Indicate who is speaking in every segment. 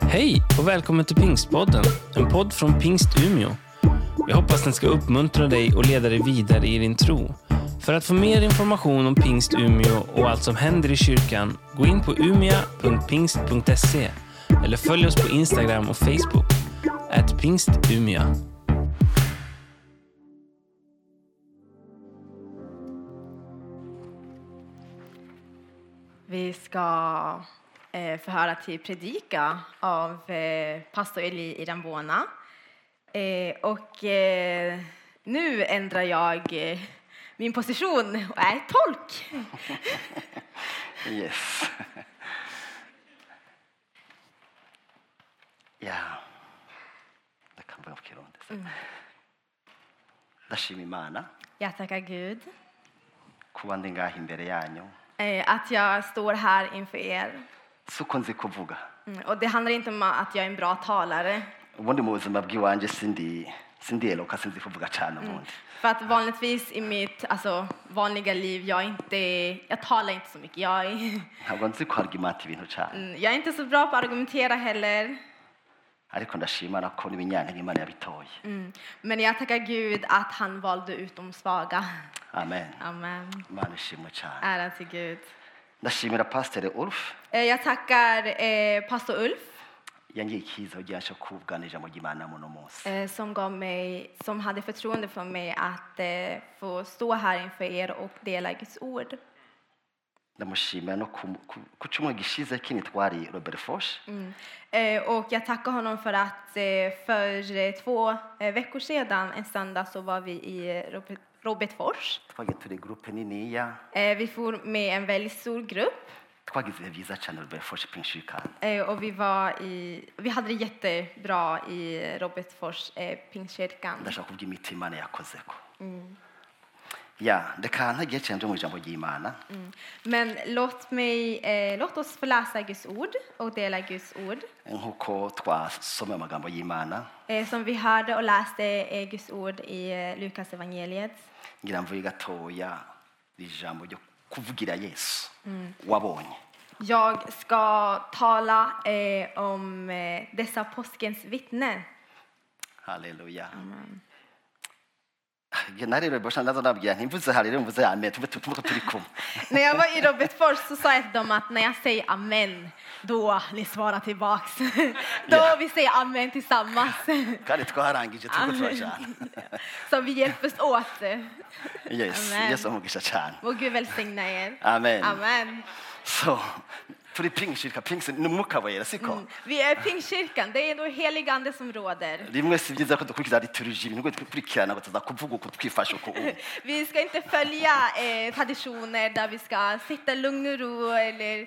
Speaker 1: Hej och välkommen till Pingstpodden, en podd från Pingst Umeå. Jag hoppas den ska uppmuntra dig och leda dig vidare i din tro. För att få mer information om Pingst Umeå och allt som händer i kyrkan, gå in på umia.pingst.se eller följ oss på Instagram och Facebook, at pingstumia.
Speaker 2: Vi ska eh, få höra till predika av eh, pastor Eli i Rambona. Eh, och eh, nu ändrar jag eh, min position och är tolk.
Speaker 3: Yes. Ja. Det kan vara okej om det.
Speaker 2: Mm.
Speaker 3: ndashima imana
Speaker 2: Jag tackar Gud
Speaker 3: kuba ndi ngaha imbere yanyu
Speaker 2: eh, att jag står här inför er.
Speaker 3: si uko nzi kuvuga
Speaker 2: Mm, och det handlar inte om att jag är en bra talare.
Speaker 3: ubundi mu buzima bw'iwanjye sindi sindiheruka sinzi kuvuga cyane
Speaker 2: Mm.
Speaker 3: ubundi
Speaker 2: För att vanligtvis i mitt alltså, vanliga liv, jag, är inte, jag talar inte så mycket. Jag är,
Speaker 3: ntabwo nzi kwarwimata ibintu cyane
Speaker 2: Mm, jag är inte så bra på att argumentera heller.
Speaker 3: ariko ndashima Imana ko n'ibinyanka imana yabitoye
Speaker 2: Mm. Men jag tackar Gud att han valde ut de svaga.
Speaker 3: amen
Speaker 2: Ah. Amen.
Speaker 3: imana ishimwe cyane
Speaker 2: Ära till Gud.
Speaker 3: ndashimira pasiteri urufu
Speaker 2: Eh, Jag tackar eh, pastor Ulf
Speaker 3: yangiye icyiza ujyashye kubwana ijambo ry'imana muno munsi
Speaker 2: eh, som, gav mig, som hade förtroende för mig att eh, få stå här inför er och dela Guds ord.
Speaker 3: ndamushimira no ku- ku- ku cyumweru gishize kinitwari robert fosh
Speaker 2: Mm. Eh, Och jag tackar honom för att eh, för eh, två eh, veckor sedan, en söndag, så var vi i eh, Robert- Robertfors.
Speaker 3: twagiye turi gurupe niniya
Speaker 2: Eh, Vi for med en väldigt stor grupp
Speaker 3: twagize ibihe byiza cyane robert fosh pinshikani
Speaker 2: Eh, och vi, var i, vi hade det jättebra i Robertfors eh, pingstkyrkan.
Speaker 3: ndashaka kubwira imiti imana yakoze ko
Speaker 2: Mm.
Speaker 3: ya reka ntagiye cyane mu ijambo ry'imana
Speaker 2: Mm. Men låt, mig, eh, låt oss få läsa Guds ord och dela Guds ord.
Speaker 3: nk'uko twasomye amagambo y'imana
Speaker 2: Eh, som vi hörde och läste eh, Guds ord i eh, Lukas evangeliet.
Speaker 3: ngira mvuye gatoya ijambo ryo kuvugira yesu
Speaker 2: Mm.
Speaker 3: wabonye
Speaker 2: Jag ska tala eh, om eh, dessa påskens vittnen.
Speaker 3: haleluya Nge- na rero bosha ndaza ndabwira ntimvuze haleluya mvuze amen tuve tuve ko turi kumwe
Speaker 2: När jag var i Robertfors så sa jag till dem att när jag säger amen, då ni svarar tillbaks. då
Speaker 3: Ja.
Speaker 2: vi säger amen tillsammans.
Speaker 3: kandi twarangije
Speaker 2: Ah,
Speaker 3: turiko turajana
Speaker 2: Så vi hjälps åt.
Speaker 3: yes
Speaker 2: Amen.
Speaker 3: yesu umugisha cyane
Speaker 2: Må Gud välsigna er.
Speaker 3: amen
Speaker 2: Amen.
Speaker 3: so turi pingishirika pingisi ni umwuka wera siko
Speaker 2: Vi är Pingstkyrkan, det är då helig ande som råder.
Speaker 3: rimwe si byiza ko dukurikiza liturujyi ni ngombwa dukurikirana ngo tuza kuvuga uko twifashe uko ubu
Speaker 2: Vi ska inte följa eh, traditioner där vi ska sitta i lugn och ro, eller,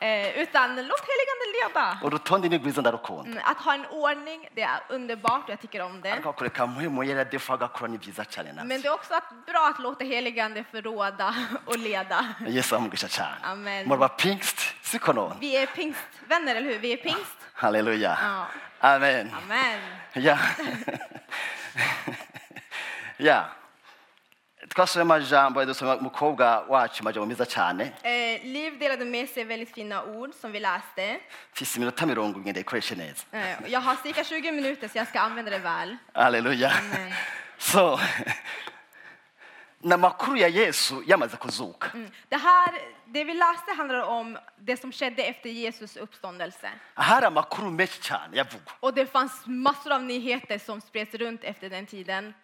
Speaker 2: eh, utan låt helig ande leda.
Speaker 3: urutonde ni rwiza ndarukunda
Speaker 2: Mm, Att ha en ordning, det är underbart och jag tycker om det.
Speaker 3: ariko kureka muhemu yera defu agakora ni byiza cyane
Speaker 2: Men
Speaker 3: nawe
Speaker 2: det är också att, bra att låta helig ande få råda och leda.
Speaker 3: yesu amugisha cyane
Speaker 2: Amen.
Speaker 3: muri ba pingsiti siko none
Speaker 2: Vi är pingstvänner, eller hur? Vi är pingst.
Speaker 3: haleluya
Speaker 2: Ja.
Speaker 3: amen
Speaker 2: Amen.
Speaker 3: ya ya twasomye amajambo dusoma umukobwa wacu amajambo meza cyane
Speaker 2: Eh, Liv delade med sig väldigt fina ord som vi läste.
Speaker 3: mfise iminota mirongo imwe ndayikoreshe neza
Speaker 2: Eh, och Jag har cirka 20 minuter så jag ska använda det väl.
Speaker 3: haleluya
Speaker 2: Amen.
Speaker 3: so ni amakuru ya yesu yamaze kuzuka
Speaker 2: Mm. Det, här, det vi läste handlar om det som skedde efter Jesus uppståndelse.
Speaker 3: hari amakuru menshi cyane yavugwa
Speaker 2: Och det fanns massor av nyheter som spreds runt efter den tiden.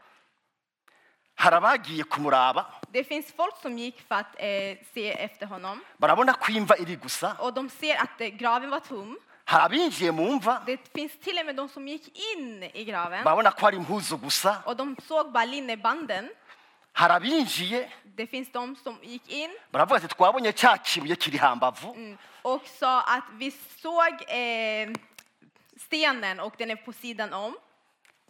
Speaker 3: hari abagiye kumuraba
Speaker 2: Det finns folk som gick för att eh, se efter honom.
Speaker 3: barabona ko imva iri gusa
Speaker 2: Och de ser att eh, graven var tom.
Speaker 3: hari abinjiye mu mva
Speaker 2: Det finns till och med de som gick in i graven.
Speaker 3: barabona ko hari impuzu gusa
Speaker 2: Och de såg bara linnebanden.
Speaker 3: hari abinjiye
Speaker 2: Det finns de som gick in
Speaker 3: baravuga ati twabonye cya kibuye kiri hambavu
Speaker 2: Mm. och sa att vi såg eh, stenen och den är på sidan om.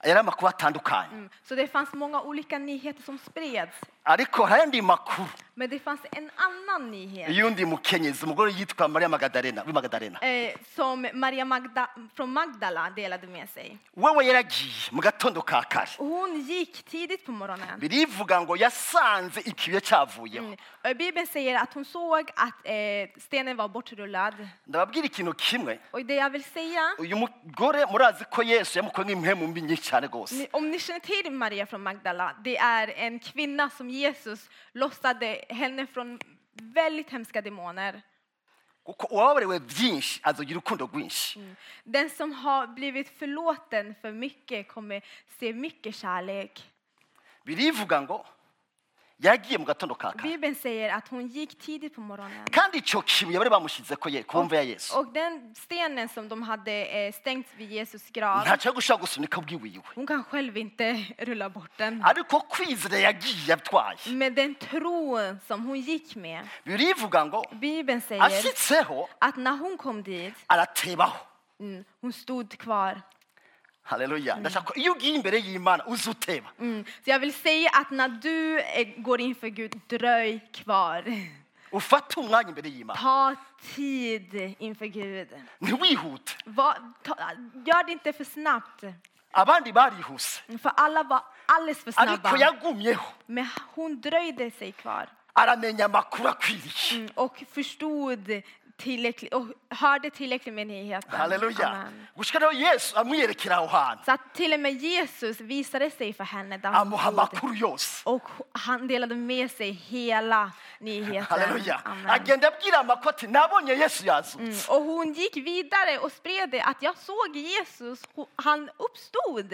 Speaker 3: yari amakuru atandukanye
Speaker 2: Mm. Så det fanns många olika nyheter som spreds
Speaker 3: ariko hari makuru
Speaker 2: Men det fanns en annan nyhet
Speaker 3: y'undi mukenyezi umugore yitwa mariya magadarena w'i magadarena
Speaker 2: eh, som Maria Magda, från Magdala delade med sig.
Speaker 3: wewe yaragiye mu gatondo ka kare
Speaker 2: Hon gick tidigt på morgonen.
Speaker 3: birivuga ngo yasanze ikibuye cyavuyeho
Speaker 2: Mm. Och Bibeln säger att hon såg att eh, stenen var bortrullad.
Speaker 3: ndababwira ikintu kimwe
Speaker 2: Och det jag vill säga,
Speaker 3: uyu mugore murazi ko yesu yamukoye nk'imwe mu mbi nyinshi cyane rwose
Speaker 2: ni- om ni känner till Maria från Magdala, det är en kvinna som Jesus lossade henne från väldigt hemska demoner.
Speaker 3: kuko uwababarewe byinshi azogira urukundo rwinshi
Speaker 2: Mm. Den som har blivit förlåten för mycket kommer se mycket kärlek.
Speaker 3: birivuga ngo yagiye mu gatondo ka kare
Speaker 2: Bibeln säger att hon gick tidigt på morgonen.
Speaker 3: kandi icyo kibuye bari bamushize ko ye ku mva ya yesu
Speaker 2: Och den stenen som de hade eh, stängt vid Jesus grav,
Speaker 3: ntacyo yo gushaka gusunika bwiwiwe
Speaker 2: hon kan själv inte rulla bort den.
Speaker 3: ariko kwizera yagiye atwaye
Speaker 2: Med den tro som hon gick med.
Speaker 3: birivuga ngo
Speaker 2: Bibeln säger
Speaker 3: ashyitseho
Speaker 2: att när hon kom dit,
Speaker 3: aratebaho
Speaker 2: mm, hon stod kvar.
Speaker 3: haleluya ndashaka ko iyo ugiye imbere y'imana uze uteba
Speaker 2: Mm. Så jag vill säga att när du eh, går inför Gud, dröj kvar.
Speaker 3: ufate umwanya imbere y'imana
Speaker 2: Ta tid inför Gud.
Speaker 3: ntiwihute
Speaker 2: Var, ta, gör det inte för snabbt.
Speaker 3: abandi barihuse
Speaker 2: För alla var alldeles för
Speaker 3: ariko
Speaker 2: snabba.
Speaker 3: yagumyeho
Speaker 2: Men hon dröjde sig kvar.
Speaker 3: aramenya amakuru akwiriye
Speaker 2: Mm, och förstod tillräckligt och hörde tillräckligt med nyheten.
Speaker 3: haleluya
Speaker 2: Amen.
Speaker 3: gushika rero yesu amwiyerekera aho hantu
Speaker 2: Så att till och med Jesus visade sig för henne där hon
Speaker 3: amuha
Speaker 2: bodde.
Speaker 3: amakuru yose
Speaker 2: Och han delade med sig hela nyheten.
Speaker 3: haleluya
Speaker 2: Amen.
Speaker 3: agenda abwira amakuru ati nabonye yesu
Speaker 2: Mm,
Speaker 3: yazutse
Speaker 2: Och hon gick vidare och spred det att jag såg Jesus, ho- han uppstod.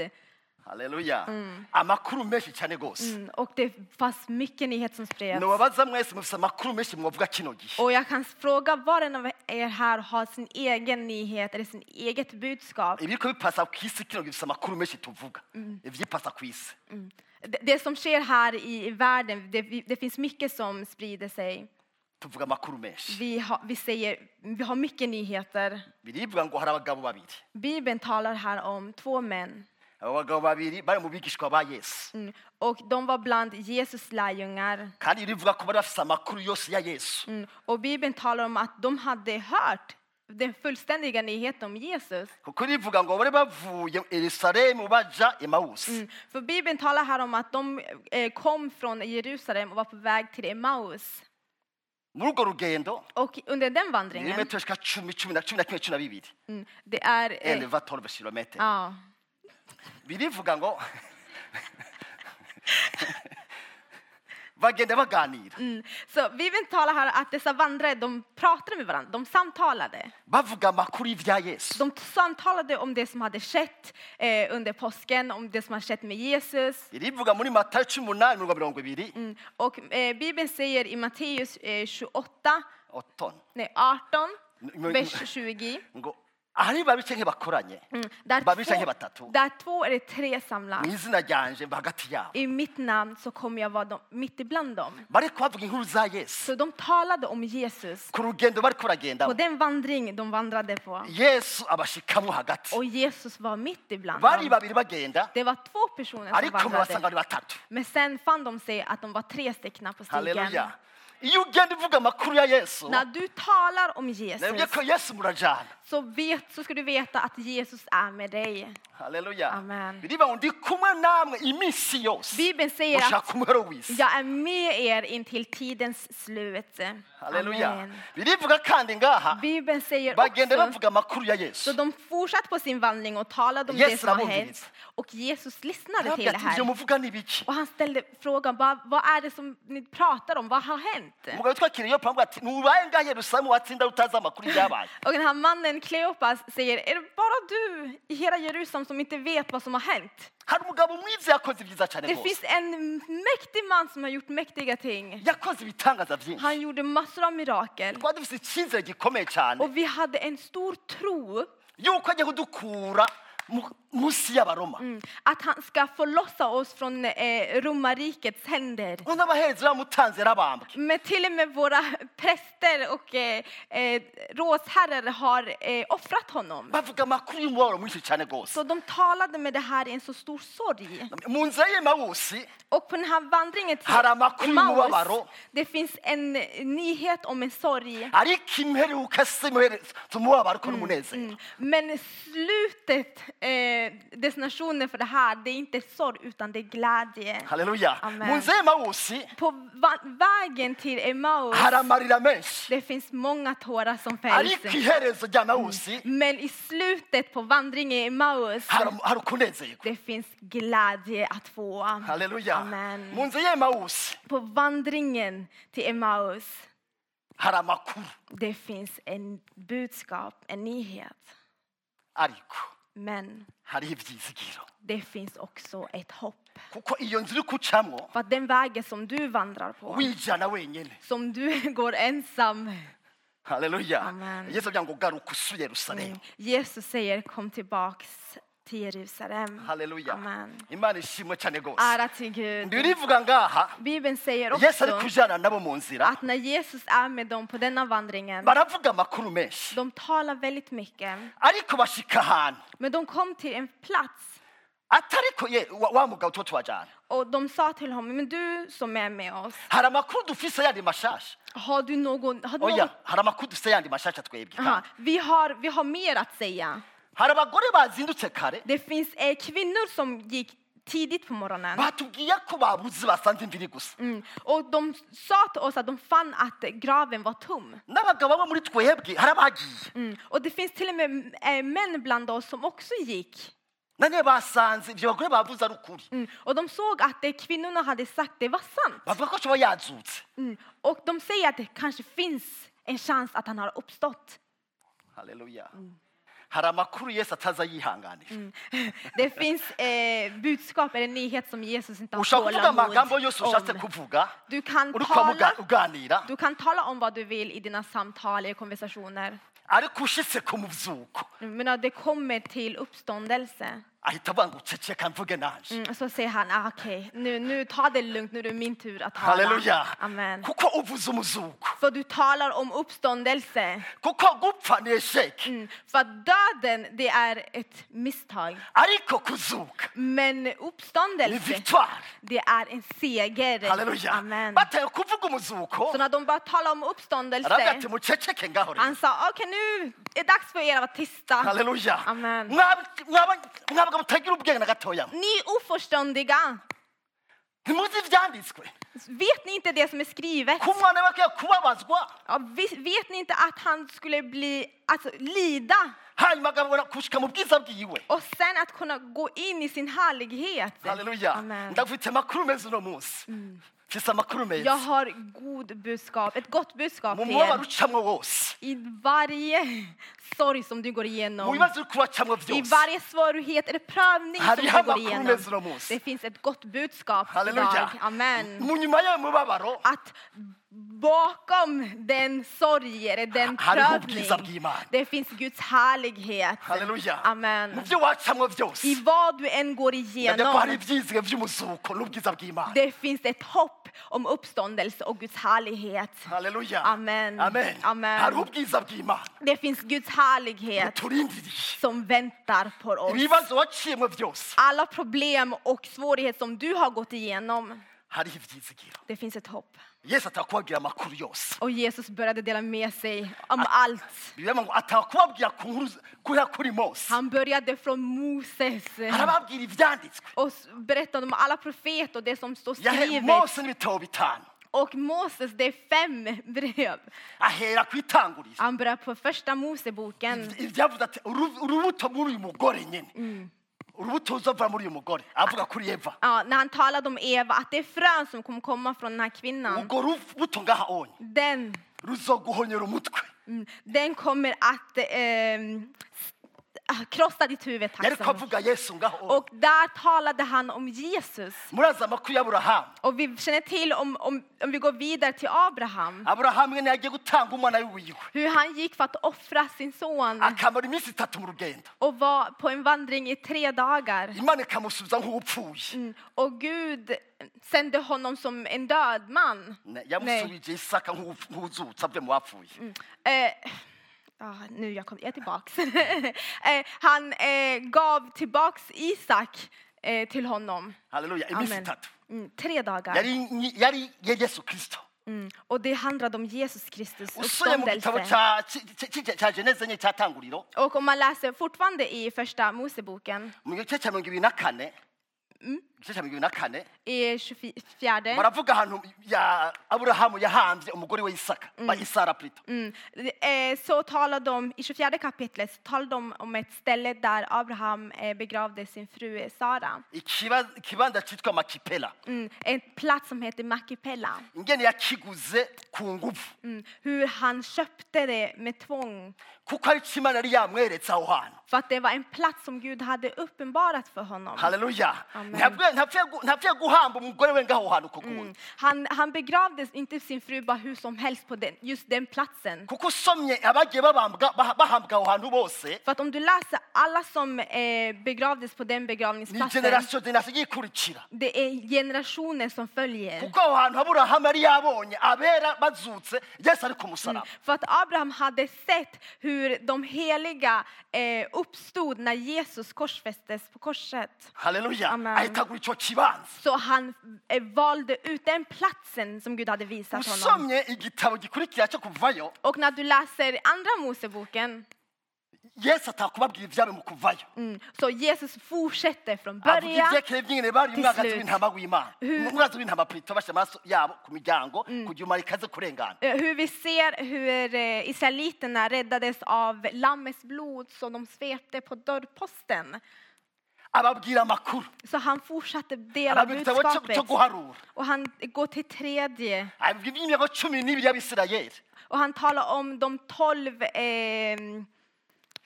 Speaker 3: haleluya amakuru menshi cyane rwose
Speaker 2: Mm, Och det fanns mycket nyhet som spreds.
Speaker 3: ntiwabaza mwese mufite amakuru menshi mwavuga kino gihe
Speaker 2: Och jag kan fråga var och en av er här har sin egen nyhet eller sin eget budskap.
Speaker 3: ibiriko bipasa ku isi kino gihe bifite amakuru menshi tuvuga ibyipasa ku isi
Speaker 2: Mm. Det, det som sker här i, i världen, det, vi- det finns mycket som sprider sig.
Speaker 3: tuvuga amakuru menshi
Speaker 2: Vi har, vi, säger, vi har mycket nyheter.
Speaker 3: birivuga ngo hari abagabo babiri
Speaker 2: Bibeln talar här om två män.
Speaker 3: abo bagabo babiri bari mu bigishwa ba yesu
Speaker 2: Mm. Och de var bland Jesus lärjungar.
Speaker 3: kandi birivuga ko bari bafite amakuru yose ya yesu
Speaker 2: Mm. Och Bibeln talar om att de hade hört den fullständiga nyheten om Jesus.
Speaker 3: kuko rivuga ngo bari bavuye erusalemu baja emawusi
Speaker 2: Mm. För Bibeln talar här om att de eh, kom från Jerusalem och var på väg till Emmaus.
Speaker 3: muri urwo rugendo
Speaker 2: Och under den
Speaker 3: ni
Speaker 2: vandringen,
Speaker 3: ibirometero shika cumi cumi na cumi na kimwe cumi na bibiri
Speaker 2: mm, det är... Eh,
Speaker 3: eleva torove kilometero
Speaker 2: ja.
Speaker 3: birivuga ngo bagenda baganira
Speaker 2: Mm. Så Bibeln talar här att dessa vandrare, de pratade med varandra, de samtalade.
Speaker 3: bavuga amakuru y'ibya yesu
Speaker 2: De samtalade om det som hade skett eh, under påsken, om det som hade skett med Jesus.
Speaker 3: birivuga muri matayo cumi n'umunani mirongo mirongo ibiri
Speaker 2: Mm. Och eh, Bibeln säger i Matteus eh, 28,
Speaker 3: otoni
Speaker 2: nej 18,
Speaker 3: Mm.
Speaker 2: vers 20.
Speaker 3: ngo ahari babice nk'ibakoranye
Speaker 2: Mm. Där,
Speaker 3: Bara vi säger bara
Speaker 2: två,
Speaker 3: tattoo.
Speaker 2: där två eller tre
Speaker 3: mu
Speaker 2: samlas.
Speaker 3: izina ryanje mba hagati yabo
Speaker 2: I mitt namn så kommer jag vara dem, mitt ibland dem.
Speaker 3: bari kubavuga inkuru za yesu
Speaker 2: Så de talade om Jesus
Speaker 3: ku rugendo bari
Speaker 2: på
Speaker 3: kuragenda
Speaker 2: den vandring de vandrade på.
Speaker 3: yesu abashikamo hagati
Speaker 2: Och Jesus var mitt ibland
Speaker 3: bari
Speaker 2: dem.
Speaker 3: babiri bagenda
Speaker 2: Det var två personer som
Speaker 3: ariko murasanga
Speaker 2: vandrade.
Speaker 3: bari batatu
Speaker 2: Men sen fann de sig att de var tre stycken på stigen.
Speaker 3: haleluya iyo ugenda uvuga amakuru ya yesu
Speaker 2: När du talar om Jesus
Speaker 3: nabyo ko yesu murajyana
Speaker 2: så, vet, så ska du veta att Jesus är med dig.
Speaker 3: haleluya
Speaker 2: Amen.
Speaker 3: birivuga ngo ndi kumwe namwe iminsi yose
Speaker 2: Bibeln säger att
Speaker 3: mushaka umuhero w'isi
Speaker 2: jag är med er intill tidens slut.
Speaker 3: haleluya
Speaker 2: Amen.
Speaker 3: birivuga kandi ngaha
Speaker 2: Bibeln säger
Speaker 3: bagenda
Speaker 2: också,
Speaker 3: bavuga amakuru ya
Speaker 2: så
Speaker 3: yesu
Speaker 2: de fortsatte på sin vandring och talade om
Speaker 3: Yes,
Speaker 2: det som har
Speaker 3: Ramon
Speaker 2: hänt.
Speaker 3: Willis.
Speaker 2: Och Jesus lyssnade till
Speaker 3: arababwira
Speaker 2: det
Speaker 3: ati
Speaker 2: här.
Speaker 3: ibyo muvuga ni ibiki
Speaker 2: Och han ställde frågan, vad, vad är det som ni pratar om? Vad har hänt?
Speaker 3: umugabo witwa kiriyopa avuga ati ntubaye ngaha yerusalemu watsinda utazi amakuru y'ibyabaye
Speaker 2: Och den här mannen Kleopas säger, är det bara du i hela Jerusalem som inte vet vad som har hänt?
Speaker 3: hari umugabo mwiza yakoze ibyiza cyane
Speaker 2: Det
Speaker 3: rwose
Speaker 2: finns en mäktig man som har gjort mäktiga ting.
Speaker 3: yakoze ibitangaza byinshi
Speaker 2: Han gjorde massor av mirakel.
Speaker 3: twari dufite icyizere gikomeye cyane
Speaker 2: Och vi hade en stor tro
Speaker 3: yuko agiye kudukura mu- munsi y'abaroma
Speaker 2: Mm. Att han ska förlossa oss från eh, romarrikets händer.
Speaker 3: ngo n'abahezi bamutanze rabambwe
Speaker 2: Men till och med våra präster och eh, eh, rådsherrar har eh, offrat honom.
Speaker 3: bavuga amakuru y'umubabaro mwinshi cyane rwose
Speaker 2: Så de talade med det här i en så stor sorg.
Speaker 3: mu nzira y'emawusi
Speaker 2: Och på den här vandringen till
Speaker 3: Haramakuri mubabaro.
Speaker 2: Emmaus, det finns en eh, nyhet om en sorg.
Speaker 3: ariko imperuka si imuherezo umubabaro uko n'umunezero
Speaker 2: Mm. Men slutet, eh, destinationen för det här, det är inte sorg utan det är glädje.
Speaker 3: hareruya
Speaker 2: Amen.
Speaker 3: mu nzira y'emawusi
Speaker 2: På va- vägen till Emmaus,
Speaker 3: hari amarira menshi
Speaker 2: det finns många tårar som
Speaker 3: ariko
Speaker 2: fälls.
Speaker 3: iherezo rya mawusi
Speaker 2: Men i slutet på vandringen i Emmaus,
Speaker 3: hari hari ukunezerwa
Speaker 2: det finns glädje att få.
Speaker 3: hareruya
Speaker 2: Amen.
Speaker 3: mu nzira y'emawusi
Speaker 2: På vandringen till Emmaus,
Speaker 3: hari amakuru
Speaker 2: det finns en budskap, en nyhet.
Speaker 3: ariko
Speaker 2: Men
Speaker 3: hariho ibyizigiro
Speaker 2: det finns också ett hopp.
Speaker 3: kuko iyo nzira uri kucamo
Speaker 2: För att den vägen som du vandrar på,
Speaker 3: wijyana wenyine
Speaker 2: som du går ensam.
Speaker 3: hareruya
Speaker 2: Amen.
Speaker 3: yesu agira ngo garuka usu yerusalemu
Speaker 2: Jesus säger kom tillbaks till Jerusalem.
Speaker 3: hareruya
Speaker 2: Amen.
Speaker 3: imana ishimwe cyane rwose
Speaker 2: Ära till Gud.
Speaker 3: ntibirivuga ngaha
Speaker 2: Bibeln säger
Speaker 3: yesu ari
Speaker 2: också
Speaker 3: kujyana nabo mu nzira
Speaker 2: att när Jesus är med dem på denna vandringen,
Speaker 3: baravuga amakuru menshi
Speaker 2: de talar väldigt mycket.
Speaker 3: ariko bashika ahantu
Speaker 2: Men de kom till en plats
Speaker 3: atariko ye wa- wa mugabo tuba tubajyana
Speaker 2: och de sa till honom, men du som är med oss,
Speaker 3: hari amakuru dufise yandi mashasha
Speaker 2: har du någon... Har du någon
Speaker 3: oya hari amakuru dufise yandi mashasha twebwe
Speaker 2: Oh. Aha,
Speaker 3: kandi.
Speaker 2: vi, har, vi har mer att säga.
Speaker 3: hari abagore bazindutse kare
Speaker 2: Det finns eh, kvinnor som gick tidigt på morgonen.
Speaker 3: batubwiye ko babuze basanze imviri gusa
Speaker 2: Mm. Och de sa till oss att de fann att graven var tom.
Speaker 3: n'abagabo bamwe muri twebwe hari abagiye
Speaker 2: Mm. Och det finns till och med eh, män bland oss som också gick.
Speaker 3: nane basanze ibyo bagore bavuze ari ukuri
Speaker 2: Mm. Och de såg att det kvinnorna hade sagt det var sant.
Speaker 3: bavuga ko ashobora yazutse
Speaker 2: Mm. Och de säger att det kanske finns en chans att han har uppstått.
Speaker 3: haleluya
Speaker 2: Mm.
Speaker 3: hari amakuru yesu ataza yihanganira
Speaker 2: Det finns eh, budskap eller nyhet som Jesus inte har
Speaker 3: ushaka kuvuga amagambo
Speaker 2: tålamod
Speaker 3: yose ushatse
Speaker 2: om.
Speaker 3: kuvuga
Speaker 2: Du kan,
Speaker 3: uri kwa
Speaker 2: tala,
Speaker 3: muga- uganira
Speaker 2: du kan tala om vad du vill i dina samtal eller konversationer.
Speaker 3: ariko ushitse ku mubyuko
Speaker 2: Mm, Men när det kommer till uppståndelse
Speaker 3: ahita avanga uceceka mvuge nanje
Speaker 2: mm, så säger han, ah, okej, nu, nu ta det lugnt, nu är det min tur att tala.
Speaker 3: haleluya
Speaker 2: Amen.
Speaker 3: kuko uvuze umuzuko
Speaker 2: För du talar om uppståndelse.
Speaker 3: kuko gupfa ni esheke
Speaker 2: Mm. För att döden, det är ett misstag.
Speaker 3: ariko kuzuka
Speaker 2: Men
Speaker 3: ni
Speaker 2: uppståndelse,
Speaker 3: victoire
Speaker 2: det är en seger.
Speaker 3: haleluya
Speaker 2: Amen.
Speaker 3: bataye kuvuga umuzuko
Speaker 2: Så när de började tala om
Speaker 3: aravuga ati
Speaker 2: uppståndelse,
Speaker 3: muceceke ngaho rero
Speaker 2: han sa, okej nu är det dags för er att vara tysta.
Speaker 3: haleluya
Speaker 2: Amen. Mm.
Speaker 3: Mwab- mwab- mwabaga mutagira ubwenge na gatoya mwe.
Speaker 2: Ni oförståndiga,
Speaker 3: ntimuzi ibyanditswe
Speaker 2: vet ni inte det som är skrivet?
Speaker 3: ko umwana bakwiye kubabazwa
Speaker 2: Ja, vis- vet ni inte att han skulle bli, alltså, lida
Speaker 3: hanyuma agabura gushika mu bwiza bwiwe
Speaker 2: och sen att kunna gå in i sin härlighet?
Speaker 3: haleluya
Speaker 2: Amen.
Speaker 3: ndafite amakuru meza uno munsi mfise amakuru
Speaker 2: Jag
Speaker 3: meza
Speaker 2: har god budskap, ett gott budskap
Speaker 3: mu
Speaker 2: till
Speaker 3: mubabaro
Speaker 2: er.
Speaker 3: ucamwo wose
Speaker 2: I varje sorg som du går
Speaker 3: mu
Speaker 2: igenom,
Speaker 3: bibazo uri kubacamwo
Speaker 2: i
Speaker 3: byose
Speaker 2: varje svårighet eller prövning som
Speaker 3: Hallelujah,
Speaker 2: du går
Speaker 3: vad kommer från
Speaker 2: igenom,
Speaker 3: oss.
Speaker 2: det finns ett gott budskap idag.
Speaker 3: haleluya
Speaker 2: Amen.
Speaker 3: mu nyuma y'ayo mubabaro
Speaker 2: Att bakom den sorg, eller den
Speaker 3: Hallelujah, Gisa
Speaker 2: prövning,
Speaker 3: Bgiman.
Speaker 2: det finns Guds härlighet.
Speaker 3: haleluya
Speaker 2: Amen.
Speaker 3: mu byo wacamwo
Speaker 2: I
Speaker 3: byose
Speaker 2: vad du än går
Speaker 3: ndabye ko hari
Speaker 2: igenom,
Speaker 3: ibyizigiro by'umuzuko n'ubwiza bw'imana
Speaker 2: det finns ett hopp om uppståndelse och Guds härlighet.
Speaker 3: haleluya
Speaker 2: Amen.
Speaker 3: amen
Speaker 2: Amen.
Speaker 3: hari ubwiza bw'imana
Speaker 2: Det finns Guds härlighet
Speaker 3: buturindiriye
Speaker 2: som väntar på oss.
Speaker 3: ibibazo waciyemo byose
Speaker 2: Alla problem och svårigheter som du har gått igenom,
Speaker 3: hariho ibyizigiro
Speaker 2: det finns ett hopp.
Speaker 3: yesu atakubabwira amakuru yose
Speaker 2: Och Jesus började dela med sig om allt.
Speaker 3: bibiliya ngo atakubabwira ku nkuru kuriya kuri mose
Speaker 2: Han började från Moses
Speaker 3: arababwira ibyanditswe
Speaker 2: och s- berättade om alla profeter och det som står
Speaker 3: yahe
Speaker 2: skrivet.
Speaker 3: mose n'ibitabo bitanu
Speaker 2: Och Moses, det är fem brev.
Speaker 3: ahera ku itanguriro
Speaker 2: Han börjar på första Moseboken.
Speaker 3: ibyavuze ati "Uru- urubuto muri uyu mugore nyine
Speaker 2: Mm.
Speaker 3: urubuto ruzava muri uyu mugore avuga kuri eva
Speaker 2: ja, när han talade om Eva, att det är frön som kommer komma från den här kvinnan.
Speaker 3: urwo rubuto ngaha onye
Speaker 2: Den,
Speaker 3: ruzoguhonyera umutwe
Speaker 2: mm, den kommer att, eh, s- ah, krossa ditt huvud, tack
Speaker 3: yari
Speaker 2: så mycket.
Speaker 3: kuvuga yesu ngaho
Speaker 2: Och där talade han om Jesus.
Speaker 3: murazi amakuru y'aburahamu
Speaker 2: Och vi känner till, om, om, om vi går vidare till Abraham,
Speaker 3: aburahamu nyine yagiye gutanga umwana wiwe
Speaker 2: hur han gick för att offra sin son
Speaker 3: akamara iminsi itatu mu rugendo
Speaker 2: och var på en vandring i tre dagar.
Speaker 3: imana ikamusubiza nk'upfuye
Speaker 2: Mm. Och Gud sände honom som en död man.
Speaker 3: Ne- yamusubije isaka nk'u- nk'uzutsa avuye mu bapfuye
Speaker 2: Eh, ah, nu jag kom, jag är tillbaks. eh, han eh, gav tillbaks Isak eh, till honom.
Speaker 3: haleluya iminsi
Speaker 2: Amen.
Speaker 3: itatu
Speaker 2: Mm, tre dagar.
Speaker 3: yari nyi- yari ye yesu kirisito
Speaker 2: Mm. Och det handlade om Jesus Kristus
Speaker 3: usuye mu gitabo
Speaker 2: uppståndelse.
Speaker 3: cya- ki- ki- ki- cya geneze nye cyatanguriro
Speaker 2: Och om man läser fortfarande i första Moseboken,
Speaker 3: mu gice cya mirongo ibiri na kane
Speaker 2: Mm?
Speaker 3: igice cya mirongo ibiri na kane
Speaker 2: i 24,
Speaker 3: baravuga ahantu ya aburahamu yahanze umugore we isaka ba isara plito
Speaker 2: mm, eh, så talar de, i 24 kapitlet så talar de om ett ställe där Abraham eh, begravde sin fru Sara.
Speaker 3: Ikiba- ikibanza cyitwa makipela
Speaker 2: Mm, en plats som heter Makipella.
Speaker 3: ingene yakiguze ku nguvu
Speaker 2: Mm, hur han köpte det med tvång.
Speaker 3: kuko ari cyo imana yari yamweretse aho hantu
Speaker 2: För att det var en plats som Gud hade uppenbarat för honom.
Speaker 3: haleluya
Speaker 2: Amen. Mm.
Speaker 3: Ntabwe- ntapfuye gu- ntapfuye guhamba umugore we ngaho hantu uko gundi
Speaker 2: Han, han begravde inte sin fru bara hur som helst på den, just den platsen.
Speaker 3: kuko usomye abagiye babambwa- bah- bahambwa aho hantu bose
Speaker 2: För att om du läser alla som eh, begravdes på den
Speaker 3: ni
Speaker 2: begravningsplatsen,
Speaker 3: generasiyo generasiyo yikurikira
Speaker 2: det är generationer som följer.
Speaker 3: Eh. kuko aho hantu aburahamu yari yabonye abera bazutse yesu ari ku musaraba
Speaker 2: För att Abraham hade sett hur de heliga eh, uppstod när Jesus korsfästes på korset.
Speaker 3: haleluya
Speaker 2: Amen.
Speaker 3: ahitagura icyo kibanza
Speaker 2: Så han eh, valde ut den platsen som Gud hade visat honom.
Speaker 3: usomye igitabo gikurikira cyo kuvayo
Speaker 2: Och när du läser andra Moseboken,
Speaker 3: yesu atakubabwira ibyabo mu kuvayo
Speaker 2: mm, så Jesus fortsätter från
Speaker 3: avuga
Speaker 2: början.
Speaker 3: ibyekeye by'ingene bari umwangazi
Speaker 2: slut.
Speaker 3: w'intama w'imana
Speaker 2: Mm.
Speaker 3: umwangazi w'intama plito bashyira amaraso yabo ku miryango kugira umara ikaze kurengana
Speaker 2: Eh, Hur vi ser hur eh, israeliterna räddades av Lammets blod som de svepte på dörrposten.
Speaker 3: ababwira amakuru
Speaker 2: Så han fortsatte dela
Speaker 3: ababwira igitabo cyo-
Speaker 2: budskapet.
Speaker 3: cyo guharura
Speaker 2: Och han går till tredje
Speaker 3: ababwira iby'imiryango cumi n'ibiri y'abisirayeli
Speaker 2: och han talar om de tolv eh,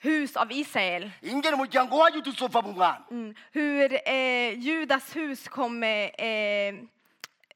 Speaker 2: hus av Israel.
Speaker 3: ingene umuryango wa yuda uzova mu mwana
Speaker 2: Mm. Hur eh, Judas hus kommer eh,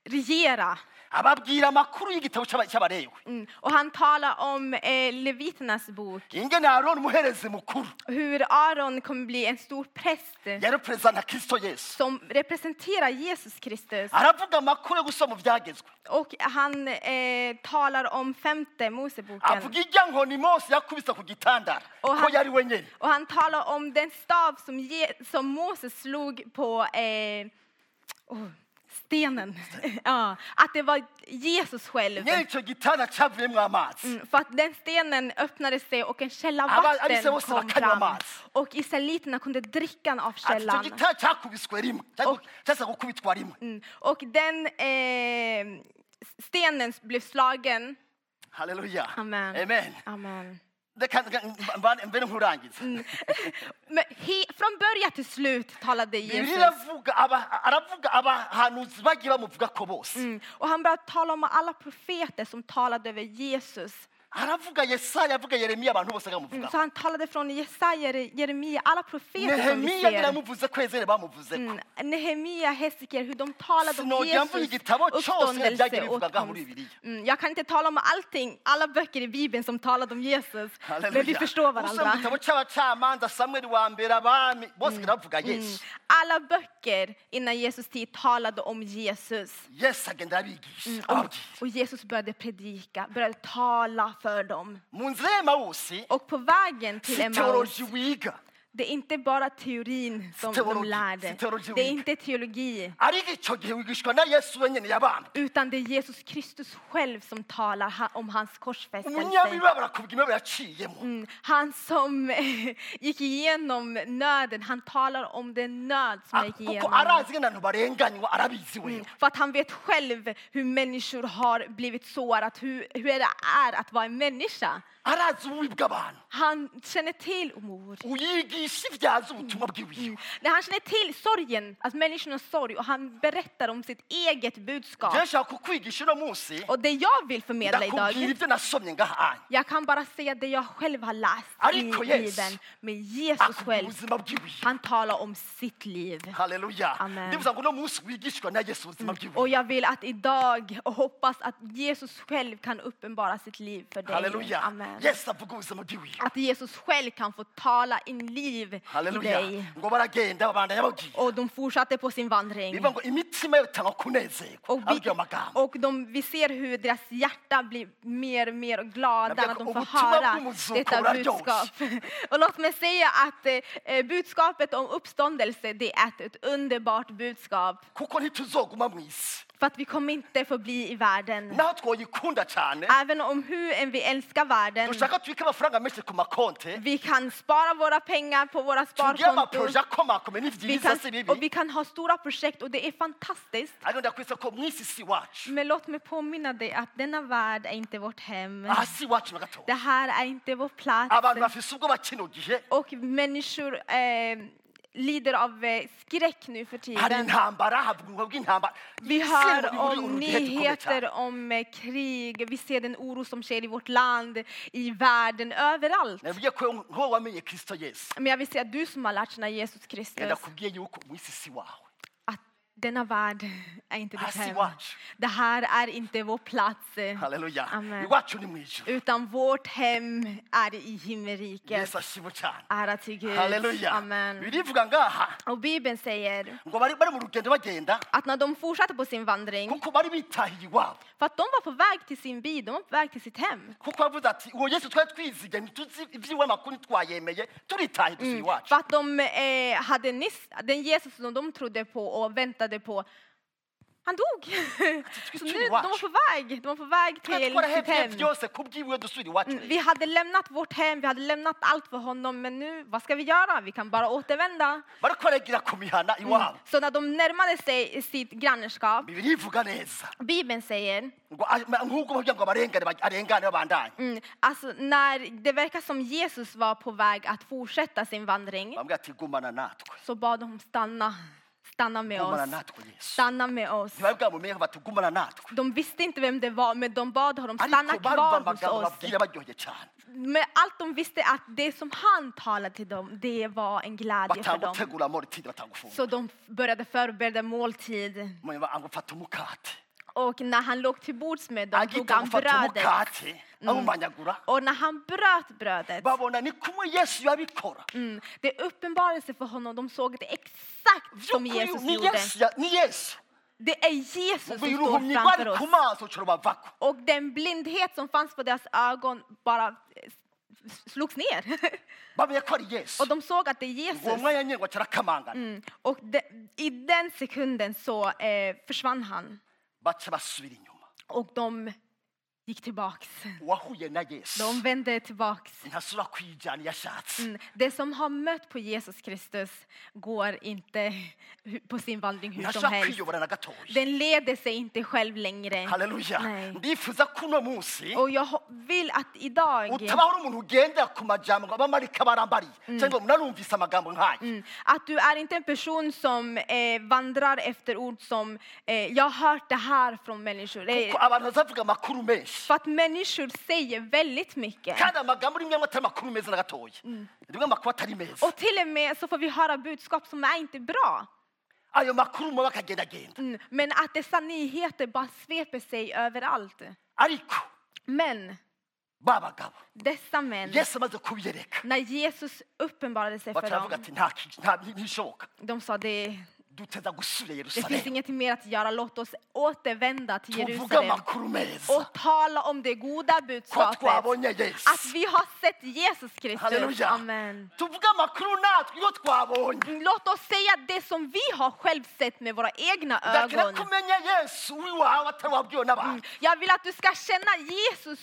Speaker 2: regera.
Speaker 3: ababwira amakuru y'igitabo cy'aba- cy'abalewi
Speaker 2: Mm. Och han talar om eh, leviternas bok.
Speaker 3: ingene aroni umuherezi mukuru
Speaker 2: Hur Aron kommer bli en stor präst
Speaker 3: yareperezanta kirisito yesu
Speaker 2: som representerar Jesus Kristus.
Speaker 3: aravuga amakuru yo gusoma ibyagezwe
Speaker 2: Och han eh, talar om femte Moseboken.
Speaker 3: avuga ijya nkoni mose yakubise ku gitandara
Speaker 2: Och
Speaker 3: ko
Speaker 2: han-
Speaker 3: yari wenyine
Speaker 2: Och han talar om den stav som, Je- som Moses slog på eh, oh, stenen. ja, att det var Jesus själv.
Speaker 3: nyine icyo gitanda cyavuyemo amazi
Speaker 2: Mm, För att den stenen öppnade sig och en källa
Speaker 3: Alla- alla
Speaker 2: vatten
Speaker 3: israeliterna
Speaker 2: kom
Speaker 3: kan ju ha
Speaker 2: fram.
Speaker 3: mat.
Speaker 2: Och israeliterna kunde dricka av
Speaker 3: ati icyo
Speaker 2: källan.
Speaker 3: gitanda cyakubiswe rimwe cyagu- cyasaga gukubitwa rimwe
Speaker 2: Oh. Mm, Och den eh, stenen blev slagen.
Speaker 3: haleluya
Speaker 2: Amen.
Speaker 3: amen
Speaker 2: Amen.
Speaker 3: reka reka- mba- mbere nkurangiza
Speaker 2: Mm, Men he, från början till slut talade
Speaker 3: bibiliya
Speaker 2: Jesus.
Speaker 3: iravuga aba- aravuga abahanuzi bagiye bamuvuga ko bose
Speaker 2: Mm. Och han började tala om alla profeter som talade över Jesus.
Speaker 3: aravuga yesaya avuga yeremiya abantu bose
Speaker 2: Mm.
Speaker 3: bakamuvuga
Speaker 2: Så han talade från Jesaja, Jere- Jeremia, alla profeter som vi
Speaker 3: nehemiya
Speaker 2: ser.
Speaker 3: biramuvuze ko ezere bamuvuze ko
Speaker 2: Mm. Nehemia, Hesekiel, hur de talade om
Speaker 3: sinongera mvuga
Speaker 2: Jesus
Speaker 3: igitabo cyose
Speaker 2: uppståndelse
Speaker 3: byagiye
Speaker 2: och
Speaker 3: bivugaga muri
Speaker 2: åtkomst.
Speaker 3: bibiliya
Speaker 2: Mm. Jag kan inte tala om allting, alla böcker i Bibeln som talade om Jesus. Men vi förstår
Speaker 3: Usoma
Speaker 2: varandra. Mm.
Speaker 3: igitabo cy'abacamanza samweli wa mbere abami bose biravuga yesu
Speaker 2: Alla böcker innan Jesus tid talade om Jesus.
Speaker 3: yesu agenda abigisha
Speaker 2: Och,
Speaker 3: ababwira
Speaker 2: och Jesus började predika, började tala för dem.
Speaker 3: mu nzira y'emawusi
Speaker 2: Och på vägen till
Speaker 3: si
Speaker 2: Emmaus,
Speaker 3: teoloji wiga
Speaker 2: det är inte bara teorin som de
Speaker 3: Teologi,
Speaker 2: lärde.
Speaker 3: teologi.
Speaker 2: Det är inte teologi,
Speaker 3: ariko icyo gihe wigishwa na yesu wenyine yabambwe
Speaker 2: utan det är Jesus Kristus själv som talar ha- om hans korsfästelse.
Speaker 3: umunyabibabara barakubwira imibabaro yaciyemo
Speaker 2: Mm, Han som eh, gick igenom nöden, han talar om den nöd som
Speaker 3: Ah,
Speaker 2: jag gick
Speaker 3: kuko
Speaker 2: igenom.
Speaker 3: arazi ingene abantu barenganywa arabizi
Speaker 2: Mm,
Speaker 3: wewe
Speaker 2: För att han vet själv hur människor har blivit sårat, hur, hur det är att vara en människa.
Speaker 3: arazi ububi bw'abantu
Speaker 2: Han känner till, oh, mor,
Speaker 3: uyigiye yisibyaza ubutumwa
Speaker 2: Mm.
Speaker 3: bw'ibuye
Speaker 2: När han känner till sorgen, alltså människornas sorg och han berättar om sitt eget budskap.
Speaker 3: rero nshaka kukwigisha uno munsi
Speaker 2: Och det jag vill förmedla
Speaker 3: ndakubwira
Speaker 2: idag,
Speaker 3: ibyo nasomye ngaha anya
Speaker 2: jag kan bara säga det jag själv har läst i
Speaker 3: Ariko Jesus.
Speaker 2: Bibeln. Men Jesus
Speaker 3: akubwira
Speaker 2: själv,
Speaker 3: ubuzima bw'ibuye
Speaker 2: han talar om sitt liv.
Speaker 3: haleluya
Speaker 2: Amen. Mm. Oh,
Speaker 3: ndibuza ngo uno munsi wigishwa na yesu ubuzima
Speaker 2: Och
Speaker 3: bw'ibuye
Speaker 2: jag vill att idag och hoppas att Jesus själv kan uppenbara sitt liv för dig.
Speaker 3: haleluya
Speaker 2: Amen.
Speaker 3: yesu avuga ubuzima bw'ibuye
Speaker 2: Att Jesus själv kan få tala in liv i
Speaker 3: haleluya
Speaker 2: dig.
Speaker 3: ngo baragenda babandanya babwiye
Speaker 2: Och de fortsatte på sin vandring.
Speaker 3: bivuga ngo imitima yo itanga kunezerwa
Speaker 2: Och, vi,
Speaker 3: abwiye amagambo
Speaker 2: och de, vi ser hur deras hjärta blir mer och mer
Speaker 3: Jag
Speaker 2: glada
Speaker 3: vet
Speaker 2: när de
Speaker 3: att
Speaker 2: får
Speaker 3: otroligt
Speaker 2: höra
Speaker 3: god som kommer
Speaker 2: detta
Speaker 3: att
Speaker 2: budskap. Och låt mig säga att eh, eh, budskapet om uppståndelse, det är ett, ett underbart budskap.
Speaker 3: kuko ntituzoguma mu isi
Speaker 2: För att vi kommer inte förbli i världen.
Speaker 3: naho twoyikunda cyane
Speaker 2: Även om hur än vi älskar världen,
Speaker 3: dushaka tubike amafaranga menshi ku makonte
Speaker 2: vi kan spara våra pengar på våra
Speaker 3: tugire amaporoje
Speaker 2: sparkonton.
Speaker 3: akomakomeye ni
Speaker 2: Vi
Speaker 3: byiza
Speaker 2: kan,
Speaker 3: si bibi
Speaker 2: och vi kan ha stora projekt och det är fantastiskt.
Speaker 3: ariko ndakwisa ko mu isi si iwacu
Speaker 2: Men låt mig påminna dig att denna värld är inte vårt hem.
Speaker 3: aha si iwacu na gato
Speaker 2: Det här är inte vår
Speaker 3: abantu
Speaker 2: plats.
Speaker 3: bafise ubwoba kino gihe
Speaker 2: Och människor eh, lider av eh, skräck nu för
Speaker 3: hari
Speaker 2: tiden.
Speaker 3: intambara havuga ubumwa bw'intambara
Speaker 2: Vi
Speaker 3: Isi
Speaker 2: hör
Speaker 3: uri- uri-
Speaker 2: om
Speaker 3: uri- uri- uri- uri-
Speaker 2: nyheter om eh, krig, vi ser den oro som sker i vårt land, i världen, överallt.
Speaker 3: nabwiye ko nk'uwo wamenye kirisito yesu
Speaker 2: Men jag vill säga du som har lärt känna Jesus Kristus,
Speaker 3: genda kubwiye yuko mu isi si iwawe
Speaker 2: att denna värld är inte ditt
Speaker 3: hasi
Speaker 2: hem.
Speaker 3: iwacu
Speaker 2: Det här är inte vår plats,
Speaker 3: haleluya
Speaker 2: Amen.
Speaker 3: iwacu ni mu ijuru
Speaker 2: utan vårt hem är i himmelriket.
Speaker 3: yesu ashimwe cyane
Speaker 2: Ära till Gud.
Speaker 3: haleluya
Speaker 2: Amen.
Speaker 3: birivuga ngaha
Speaker 2: Och Bibeln säger
Speaker 3: ngo bari bari mu rugendo bagenda
Speaker 2: att när de fortsatte på sin vandring,
Speaker 3: kuko bari bitahiye iwabo
Speaker 2: för att de var på väg till sin by, de var på väg till sitt hem.
Speaker 3: kuko bavuze ati uwo yesu twari twiziga ntituzi iby'iwe makuru twayemeye turitaye dusuye iwacu
Speaker 2: För att de eh, hade nyss, den Jesus som de trodde på och väntade på, han dog. Så nu, de var på väg, de var på väg
Speaker 3: twari
Speaker 2: till sitt
Speaker 3: twarahebye
Speaker 2: hem.
Speaker 3: byose kubw'iwe dusubira iwacu
Speaker 2: Vi hade lämnat vårt hem, vi hade lämnat allt för honom, men nu, vad ska vi göra? Vi kan bara återvända.
Speaker 3: bariko baragira ku mihana
Speaker 2: Mm.
Speaker 3: iwabo
Speaker 2: Så när de närmade sig sitt grannskap,
Speaker 3: bibiri ivuga neza
Speaker 2: Bibeln säger,
Speaker 3: ngo a- ma- nk'uko bavuga ngo abarengane bag- arengane babandanye
Speaker 2: mm, alltså när det verkar som Jesus var på väg att fortsätta sin vandring,
Speaker 3: bambwira ati gumana natwe
Speaker 2: så bad de stanna, stanna med
Speaker 3: gumana
Speaker 2: oss,
Speaker 3: natwe oh yesu
Speaker 2: stanna med oss.
Speaker 3: ntibabwira mu mbeho bati gumana natwe
Speaker 2: De visste inte vem det var, men de bad honom stanna
Speaker 3: ariko
Speaker 2: kvar
Speaker 3: barumva
Speaker 2: hos
Speaker 3: amagambo
Speaker 2: oss.
Speaker 3: babwira baryoheye cyane
Speaker 2: Men allt de visste att det som han talade till dem, det var en glädje för
Speaker 3: batanga
Speaker 2: dem.
Speaker 3: gutegura moritindi batanga
Speaker 2: Så
Speaker 3: gufungura
Speaker 2: de började förbereda måltid.
Speaker 3: ngo fata umukate
Speaker 2: Och när han låg till bords med dem tog
Speaker 3: agita
Speaker 2: han
Speaker 3: gufata
Speaker 2: brödet.
Speaker 3: umukate
Speaker 2: Mm.
Speaker 3: awumanyagura
Speaker 2: Och när han bröt brödet,
Speaker 3: babona ni kumwe yesu yabikora
Speaker 2: mm, det uppenbarade sig för honom, de såg det exakt som
Speaker 3: By'ukuri
Speaker 2: Jesus
Speaker 3: ni
Speaker 2: gjorde.
Speaker 3: yesu ya- ni yesu
Speaker 2: Det är Jesus som står
Speaker 3: biruhumyi
Speaker 2: framför
Speaker 3: bari ku
Speaker 2: oss.
Speaker 3: maso ushobora bavako
Speaker 2: Och den blindhet som fanns på deras ögon bara eh, s- slogs ner.
Speaker 3: bamenye ko ari yesu
Speaker 2: Och de såg att det är
Speaker 3: uwo
Speaker 2: Oh, Jesus.
Speaker 3: mwanya nyine ngo kirakamangana
Speaker 2: Mm. Och de, i den sekunden så eh, försvann han.
Speaker 3: baca basubira inyuma
Speaker 2: Och de gick tillbaks.
Speaker 3: uwahuye na yesu
Speaker 2: De vände tillbaks.
Speaker 3: ntasubira kwijyana iyo ashatse
Speaker 2: Mm. Det som har mött på Jesus Kristus går inte hu- på sin vandring hur som
Speaker 3: ntashobora
Speaker 2: helst.
Speaker 3: kwiyobora na gatoya
Speaker 2: Den leder sig inte själv längre.
Speaker 3: haleluya
Speaker 2: Nej.
Speaker 3: ndifuza ko uno munsi
Speaker 2: Och jag ho- vill att idag,
Speaker 3: utabaho uri umuntu ugendera ku majambo ngo abamarika barambariye cyangwa ngo narumvise amagambo nk'aya
Speaker 2: mm, att du är inte en person som eh, vandrar efter ord som eh, jag har hört det här från människor. Eh,
Speaker 3: kuko abantu bazavuga amakuru menshi
Speaker 2: För att människor säger väldigt mycket.
Speaker 3: kandi amagambo rimwe amwe atari amakuru meza na gatoya
Speaker 2: Mm.
Speaker 3: rimwe amakuru atari meza
Speaker 2: Och till och med så får vi höra budskap som är inte bra.
Speaker 3: ayo makuru muba bakagendagenda
Speaker 2: Mm. Men att dessa nyheter bara sveper sig överallt.
Speaker 3: ariko
Speaker 2: Men
Speaker 3: ba bagabo
Speaker 2: dessa män,
Speaker 3: yesu amaze kubiyereka
Speaker 2: när Jesus uppenbarade sig för
Speaker 3: bacaravuga
Speaker 2: dem,
Speaker 3: ati "Nta ki- nta ntishoboka
Speaker 2: de sa det,
Speaker 3: duteza gusubira
Speaker 2: det finns
Speaker 3: yerusalemu
Speaker 2: inget mer att göra, låt oss återvända till
Speaker 3: tuvuge
Speaker 2: Jerusalem
Speaker 3: amakuru meza
Speaker 2: och tala om det goda
Speaker 3: ko
Speaker 2: budskapet.
Speaker 3: twabonye
Speaker 2: Att
Speaker 3: yesu
Speaker 2: vi har sett Jesus Kristus.
Speaker 3: Halleluja.
Speaker 2: Amen.
Speaker 3: tuvuge amakuru natwe iyo twabonye
Speaker 2: Låt oss säga det som vi har själv sett med våra egna
Speaker 3: ndakira
Speaker 2: ögon. Mm,
Speaker 3: ko umenya yesu w'iwawe atari wabwiwe n'abantu
Speaker 2: Jag vill att du ska känna Jesus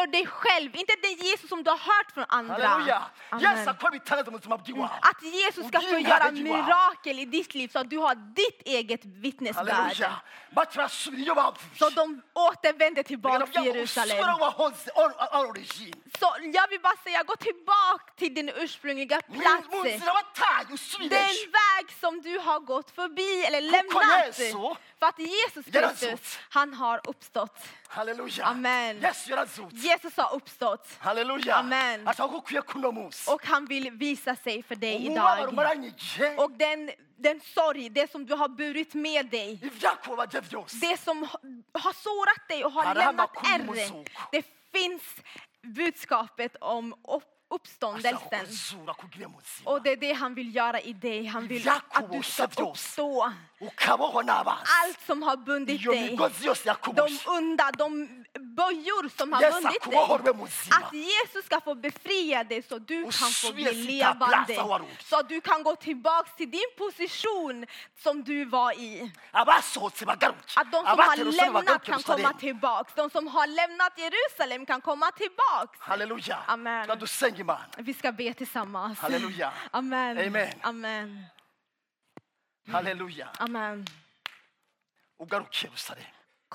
Speaker 2: för dig själv, inte den Jesus som du har hört från andra.
Speaker 3: 할렐루야
Speaker 2: Amen. Mm,
Speaker 3: 예수가 비타가 좀 무슨 말이야
Speaker 2: Att Jesus ska
Speaker 3: Och
Speaker 2: få
Speaker 3: din
Speaker 2: göra
Speaker 3: herre, Johan.
Speaker 2: mirakel i ditt liv så att du har ditt eget vittnesbörd.
Speaker 3: 할렐루야 마트라 수빈이 여봐
Speaker 2: Så de återvänder tillbaka till
Speaker 3: 내가
Speaker 2: Jerusalem.
Speaker 3: 수빈아 혼세 어르신
Speaker 2: Så jag vill bara säga, gå tillbaka till din ursprungliga plats.
Speaker 3: 문스라와 타
Speaker 2: Den
Speaker 3: 유수빈의
Speaker 2: väg som du har gått förbi eller
Speaker 3: Jesus.
Speaker 2: lämnat. För att Jesus
Speaker 3: Jesus.
Speaker 2: Kristus, han har uppstått.
Speaker 3: 할렐루야
Speaker 2: Amen.
Speaker 3: 예수 열한 수
Speaker 2: Jesus har uppstått
Speaker 3: 할렐루야
Speaker 2: Amen.
Speaker 3: 아 저거 구약 쿨러무스
Speaker 2: och han vill visa sig för dig
Speaker 3: 오마로
Speaker 2: idag.
Speaker 3: 말하니지
Speaker 2: Och den, den sorg, det som du har burit med dig,
Speaker 3: 입자코 바제비오스
Speaker 2: det som ha- har sårat dig och har
Speaker 3: Karamba
Speaker 2: lämnat
Speaker 3: kummusuk.
Speaker 2: ärr. Det finns budskapet om upp-
Speaker 3: Alltså,
Speaker 2: uppståndelsen.
Speaker 3: 아사고즈라 고기네 무스
Speaker 2: Och det är det han vill göra i dig. Han vill att du ska uppstå.
Speaker 3: 우카보 호나바
Speaker 2: Allt som har bundit dig,
Speaker 3: 요미고지오스 야코보스
Speaker 2: de onda, de bojor som har
Speaker 3: 예수
Speaker 2: bundit
Speaker 3: 아쿠바
Speaker 2: dig.
Speaker 3: 호르베 무스마
Speaker 2: Att Jesus ska få befria dig så du
Speaker 3: Och
Speaker 2: kan få bli
Speaker 3: svälta plats
Speaker 2: levande.
Speaker 3: av varor.
Speaker 2: Så att du kan gå tillbaka till din position som du var i.
Speaker 3: 아바소스 마가루치
Speaker 2: Att de som har lämnat kan komma tillbaka. De som har lämnat Jerusalem kan komma tillbaka.
Speaker 3: 할렐루야
Speaker 2: Amen.
Speaker 3: 나도 생기만
Speaker 2: Vi ska be tillsammans.
Speaker 3: Halleluja.
Speaker 2: Amen.
Speaker 3: Amen.
Speaker 2: Amen.
Speaker 3: 할렐루야
Speaker 2: Amen.
Speaker 3: 우가루키 예루살렘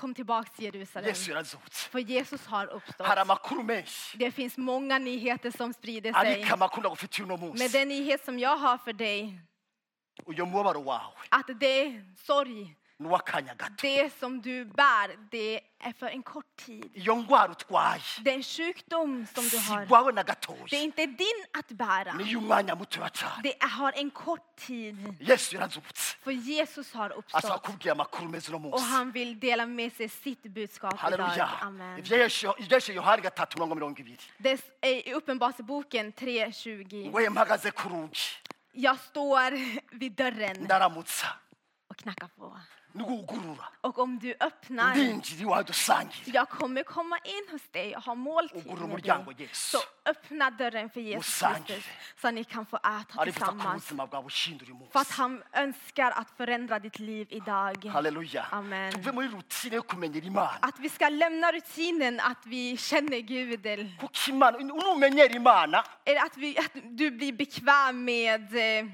Speaker 2: Kom tillbaka till Jerusalem.
Speaker 3: 예수 열한소스
Speaker 2: För Jesus har uppstått.
Speaker 3: 하라마쿠르메시
Speaker 2: Det finns många nyheter som sprider sig.
Speaker 3: 아리카마쿠나고
Speaker 2: Men
Speaker 3: 피티우노무스
Speaker 2: den nyhet som jag har för dig,
Speaker 3: 우여무아바로 와우에
Speaker 2: att det sorg,
Speaker 3: 누아카냐가토
Speaker 2: det som du bär, det är för en kort tid.
Speaker 3: 영과루 뚜과이
Speaker 2: Den sjukdom som du har,
Speaker 3: 시과오
Speaker 2: det är
Speaker 3: 나가토이
Speaker 2: inte din att bära.
Speaker 3: 미융마냐 무트라차
Speaker 2: Det är- har en kort tid.
Speaker 3: 예수 열한소스
Speaker 2: För Jesus har
Speaker 3: 아사
Speaker 2: uppstått
Speaker 3: 쿠기야마 쿠르메즈노무스
Speaker 2: och han vill dela med sig sitt budskap idag.
Speaker 3: 할렐루야.
Speaker 2: Amen.
Speaker 3: 이제 시- 이제 시 요한이가 다 도망가면 온 길이.
Speaker 2: Det s- är I Uppenbarelseboken 3.20.
Speaker 3: 왜 마가세 쿠루기
Speaker 2: Jag står vid dörren
Speaker 3: 나라 못사
Speaker 2: och knackar på.
Speaker 3: 누구 구루라.
Speaker 2: Och om du öppnar,
Speaker 3: 닌지리 와도 쌍기.
Speaker 2: jag kommer komma in hos dig och ha måltid
Speaker 3: 오구름을
Speaker 2: med
Speaker 3: 향하여
Speaker 2: dig.
Speaker 3: 예수.
Speaker 2: Så öppna dörren för Jesus
Speaker 3: 오상이.
Speaker 2: Kristus så ni kan få äta
Speaker 3: 아리부터
Speaker 2: tillsammans.
Speaker 3: 쿠루스 마가고 신들이 모.
Speaker 2: För att han önskar att förändra ditt liv idag.
Speaker 3: 할렐루야.
Speaker 2: 아멘.
Speaker 3: 두배모 루틴에 구면 일이만.
Speaker 2: Att vi ska lämna rutinen att vi känner Gud. eller-
Speaker 3: 고키만 우누면 일이만아.
Speaker 2: Eller att, vi, att du blir bekväm med eh,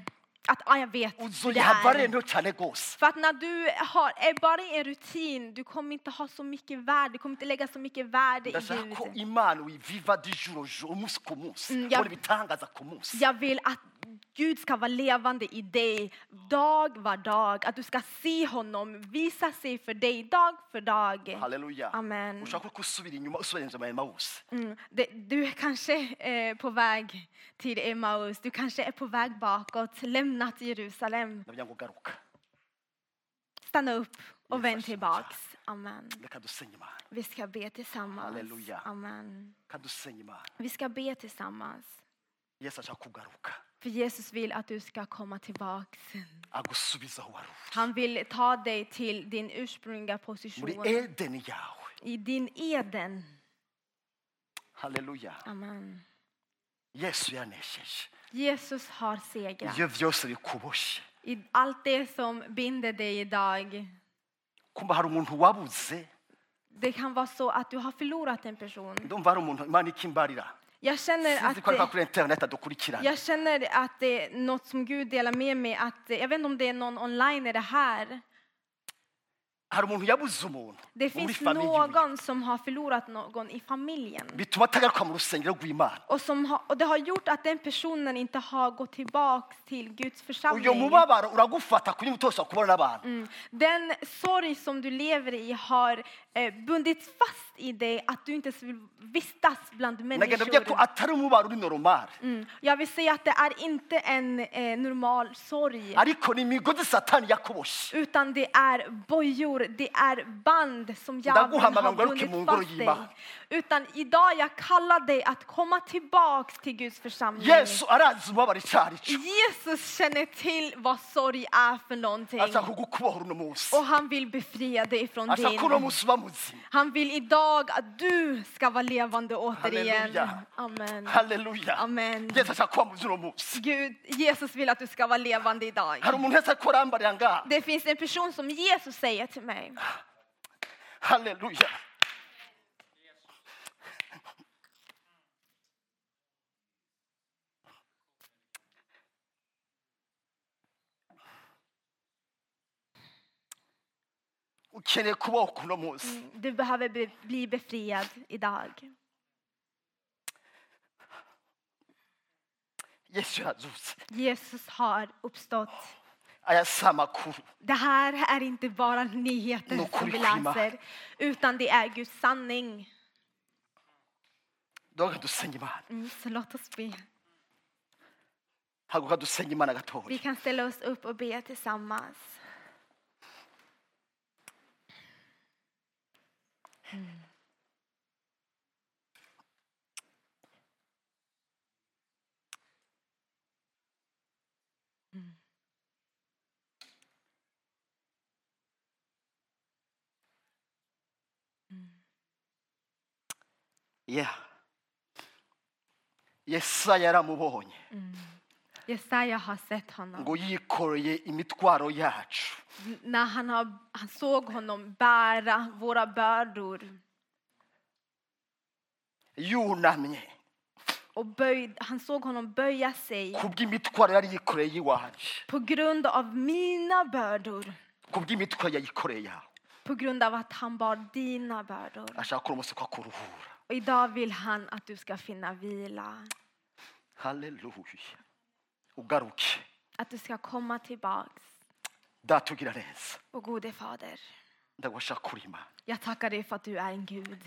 Speaker 2: att ah, jag vet hur
Speaker 3: 우조이
Speaker 2: det
Speaker 3: 하바레
Speaker 2: är.
Speaker 3: 몇 차네 고스.
Speaker 2: För att när du har, är bara i en rutin, du kommer inte ha så mycket värde, du kommer inte lägga så mycket värde i
Speaker 3: 다사 코
Speaker 2: Gud.
Speaker 3: 이만 위 비바 디주로 조무스 코무스.
Speaker 2: Mm, ja.
Speaker 3: 우리 비탄가자 코무스.
Speaker 2: Jag vill att Gud ska vara levande i dig, dag var dag. Att du ska se honom visa sig för dig, dag för dag.
Speaker 3: 할렐루야.
Speaker 2: 아멘.
Speaker 3: 우샤코 쿠스비리 뉴마 우스베는 좀 마우스.
Speaker 2: Mm. Det, du är kanske eh, på väg till Emmaus, du kanske är på väg bakåt, lämnat Jerusalem.
Speaker 3: 남양고 가로카.
Speaker 2: Stanna upp och vänd
Speaker 3: Jesus.
Speaker 2: tillbaks. Amen.
Speaker 3: 레카도 생이만.
Speaker 2: Vi ska be tillsammans.
Speaker 3: Halleluja.
Speaker 2: Amen.
Speaker 3: 가도 생이만.
Speaker 2: Vi ska be tillsammans.
Speaker 3: 예사 자꾸 가로카.
Speaker 2: För Jesus vill att du ska komma tillbaks.
Speaker 3: 아구 수비서 와루.
Speaker 2: Han vill ta dig till din ursprungliga
Speaker 3: 우리
Speaker 2: position.
Speaker 3: 에덴 야훼.
Speaker 2: I din Eden.
Speaker 3: 할렐루야.
Speaker 2: Amen.
Speaker 3: 예수 안에 시.
Speaker 2: Jesus har segrat.
Speaker 3: 여비오스리 쿠보시.
Speaker 2: I allt det som binder dig idag.
Speaker 3: 콤바하루문 후와부세.
Speaker 2: Det kan vara så att du har förlorat en person.
Speaker 3: 돈바루문 마니 킴바리라.
Speaker 2: Jag känner att
Speaker 3: 시즈콜
Speaker 2: det,
Speaker 3: 바쿠렌 인터넷도 쿠리키라.
Speaker 2: jag känner att det är något som Gud delar med mig. Att, eh, jag vet inte om det är någon online i det här.
Speaker 3: 하루문 후야부즈문.
Speaker 2: Det
Speaker 3: 우리
Speaker 2: finns
Speaker 3: 파밀리.
Speaker 2: någon som har förlorat någon i familjen.
Speaker 3: 미투마타가 컴으로 생이라 구이만.
Speaker 2: Och, som har, och det har gjort att den personen inte har gått tillbaks till Guds församling.
Speaker 3: 우요무바바로 우라고 파타 쿠니무토서 쿠바나바.
Speaker 2: Mm. Den sorg som du lever i har eh, bundit fast i dig att du inte ens vill vistas bland
Speaker 3: 내게 넘게 코
Speaker 2: människor.
Speaker 3: 아타르무바루리 노로말.
Speaker 2: Mm. Jag vill säga att det är inte en eh, normal sorg.
Speaker 3: 아리코니 미고드 사탄 야코보시.
Speaker 2: Utan det är bojor, det är band som
Speaker 3: Dagu
Speaker 2: djävulen har
Speaker 3: hamagan gorki
Speaker 2: bundit
Speaker 3: mungor
Speaker 2: fast dig.
Speaker 3: giba.
Speaker 2: Utan idag jag kallar dig att komma tillbaks till Guds församling.
Speaker 3: 예수 아라즈마바리 차리추.
Speaker 2: Jesus känner till vad sorg är för någonting.
Speaker 3: 아사후구 쿠바후르노무스.
Speaker 2: Och han vill befria dig från
Speaker 3: alltså,
Speaker 2: din.
Speaker 3: 아사쿠노무스 바무지.
Speaker 2: Han vill idag att du ska vara levande återigen.
Speaker 3: Halleluja.
Speaker 2: Amen.
Speaker 3: 할렐루야.
Speaker 2: Amen.
Speaker 3: 예사 자꾸 무슨 무스.
Speaker 2: Gud, Jesus vill att du ska vara levande idag.
Speaker 3: 하루문 회사 코란 바량가.
Speaker 2: Det finns en person som Jesus säger till mig.
Speaker 3: 할렐루야. ukeneye kubaho kuno munsi
Speaker 2: Du behöver be- bli befriad idag.
Speaker 3: yesu yazutse
Speaker 2: Jesus har uppstått.
Speaker 3: aya si amakuru
Speaker 2: Det här är inte bara nyheter som vi läser, utan det är Guds sanning.
Speaker 3: doga dusenge imana
Speaker 2: Mm, så låt oss be.
Speaker 3: haguruka dusenge imana gatoya
Speaker 2: Vi kan ställa oss upp och be tillsammans.
Speaker 3: yeah yesaya yaramubonye
Speaker 2: Jesaja har sett honom.
Speaker 3: ngo yikoreye imitwaro yacu
Speaker 2: N- När han, har, han såg honom bära våra bördor
Speaker 3: yunamye
Speaker 2: och böjd, han såg honom böja sig
Speaker 3: ku bw'imitwaro yari yikoreye y'iwanjye
Speaker 2: på grund av mina bördor.
Speaker 3: ku bw'imitwaro yayikoreye yawe
Speaker 2: På grund av att han bar dina bördor.
Speaker 3: ashaka ko umunsi ko kuruhura
Speaker 2: Och idag vill han att du ska finna vila.
Speaker 3: haleluya ugaruke
Speaker 2: Att du ska komma tillbaks.
Speaker 3: data ugira neza
Speaker 2: Och gode fader,
Speaker 3: ndagusha kuri imana
Speaker 2: jag tackar dig för att du är en Gud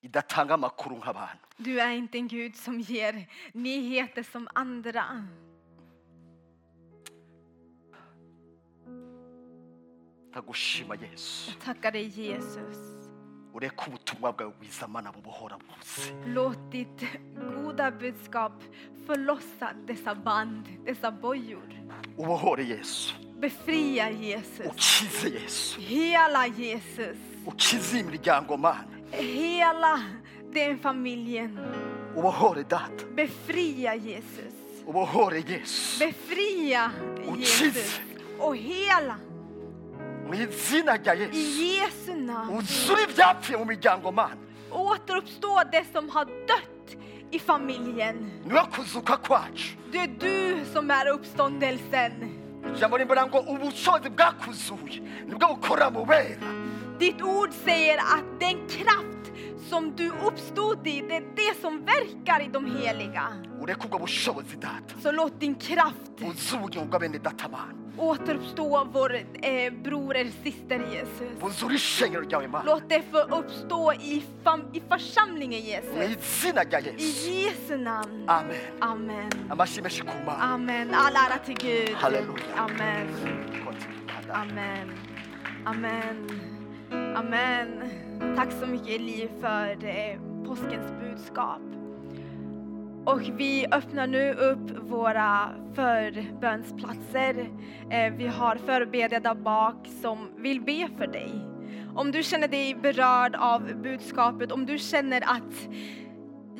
Speaker 3: idatanga amakuru nk'abantu
Speaker 2: Du är inte en Gud som ger nyheter som andra.
Speaker 3: ndagushima yesu
Speaker 2: Jag tackar dig Jesus.
Speaker 3: ureke ubutumwa bwawe bwiza mana bubohora buze
Speaker 2: Låt ditt goda budskap förlossa dessa band, dessa bojor.
Speaker 3: ubohore yesu
Speaker 2: Befria Jesus.
Speaker 3: ukize yesu
Speaker 2: Hela Jesus.
Speaker 3: ukize iyi miryango mana
Speaker 2: Hela den familjen.
Speaker 3: ubohore data
Speaker 2: Befria Jesus.
Speaker 3: ubohore yesu
Speaker 2: Befria Jesus. Och hela.
Speaker 3: mu izina rya yesu
Speaker 2: I Jesu namn.
Speaker 3: uzure ibyapfuye mu miryango mana
Speaker 2: Återuppstå det som har dött i familjen.
Speaker 3: niwe kuzuka kwacu
Speaker 2: Det är du som är uppståndelsen.
Speaker 3: ijambo rimbura ngo ubushobozi bwakuzuye nibwo bukora mu bera
Speaker 2: Ditt ord säger att den kraft som du uppstod i, det är det som verkar i de heliga.
Speaker 3: ureke ubwo bushobozi data
Speaker 2: Så låt din kraft
Speaker 3: uzi ubugingo bw'abene data mana
Speaker 2: återuppstå vår eh, bror eller syster Jesus.
Speaker 3: uzure ishengero ryawe mana
Speaker 2: Låt det få uppstå i, fam- i församlingen
Speaker 3: mu
Speaker 2: Jesus.
Speaker 3: izina rya
Speaker 2: I
Speaker 3: yesu
Speaker 2: Jesu namn.
Speaker 3: amen
Speaker 2: Amen.
Speaker 3: amashimeshi ku mana
Speaker 2: Amen. All ära till Gud.
Speaker 3: Halleluja.
Speaker 2: Amen. Amen. Amen. Amen. Tack så mycket Eli för eh, påskens budskap. Och vi öppnar nu upp våra förbönsplatser. Eh, Vi har förebedjare där bak som vill be för dig. Om du känner dig berörd av budskapet, om du känner att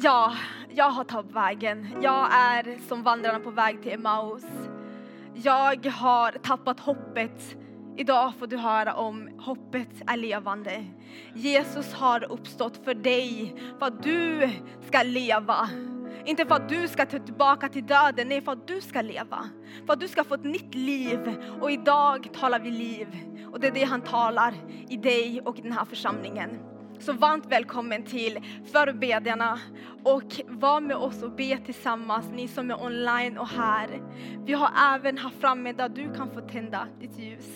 Speaker 2: ja, jag har tagit vägen. Jag är som vandrarna på väg till Emmaus. Jag har tappat hoppet. Idag får du höra om hoppet är levande. Jesus har uppstått för dig, för att du ska leva. Inte för att du ska ta tillbaka till döden, nej för att du ska leva. För att du ska få ett nytt liv. Och idag talar vi liv. Och det är det han talar i dig och i den här församlingen. Så varmt välkommen till förbedjarna och var med oss och be tillsammans, ni som är online och här. Vi har även här framme där du kan få tända ditt ljus.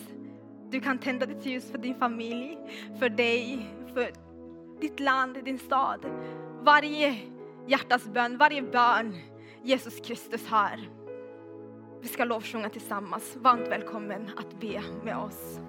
Speaker 2: Du kan tända ditt ljus för din familj, för dig, för ditt land, din stad. Varje hjärtas bön, varje bön Jesus Kristus hör. Vi ska lovsjunga tillsammans. Varmt välkommen att be med oss.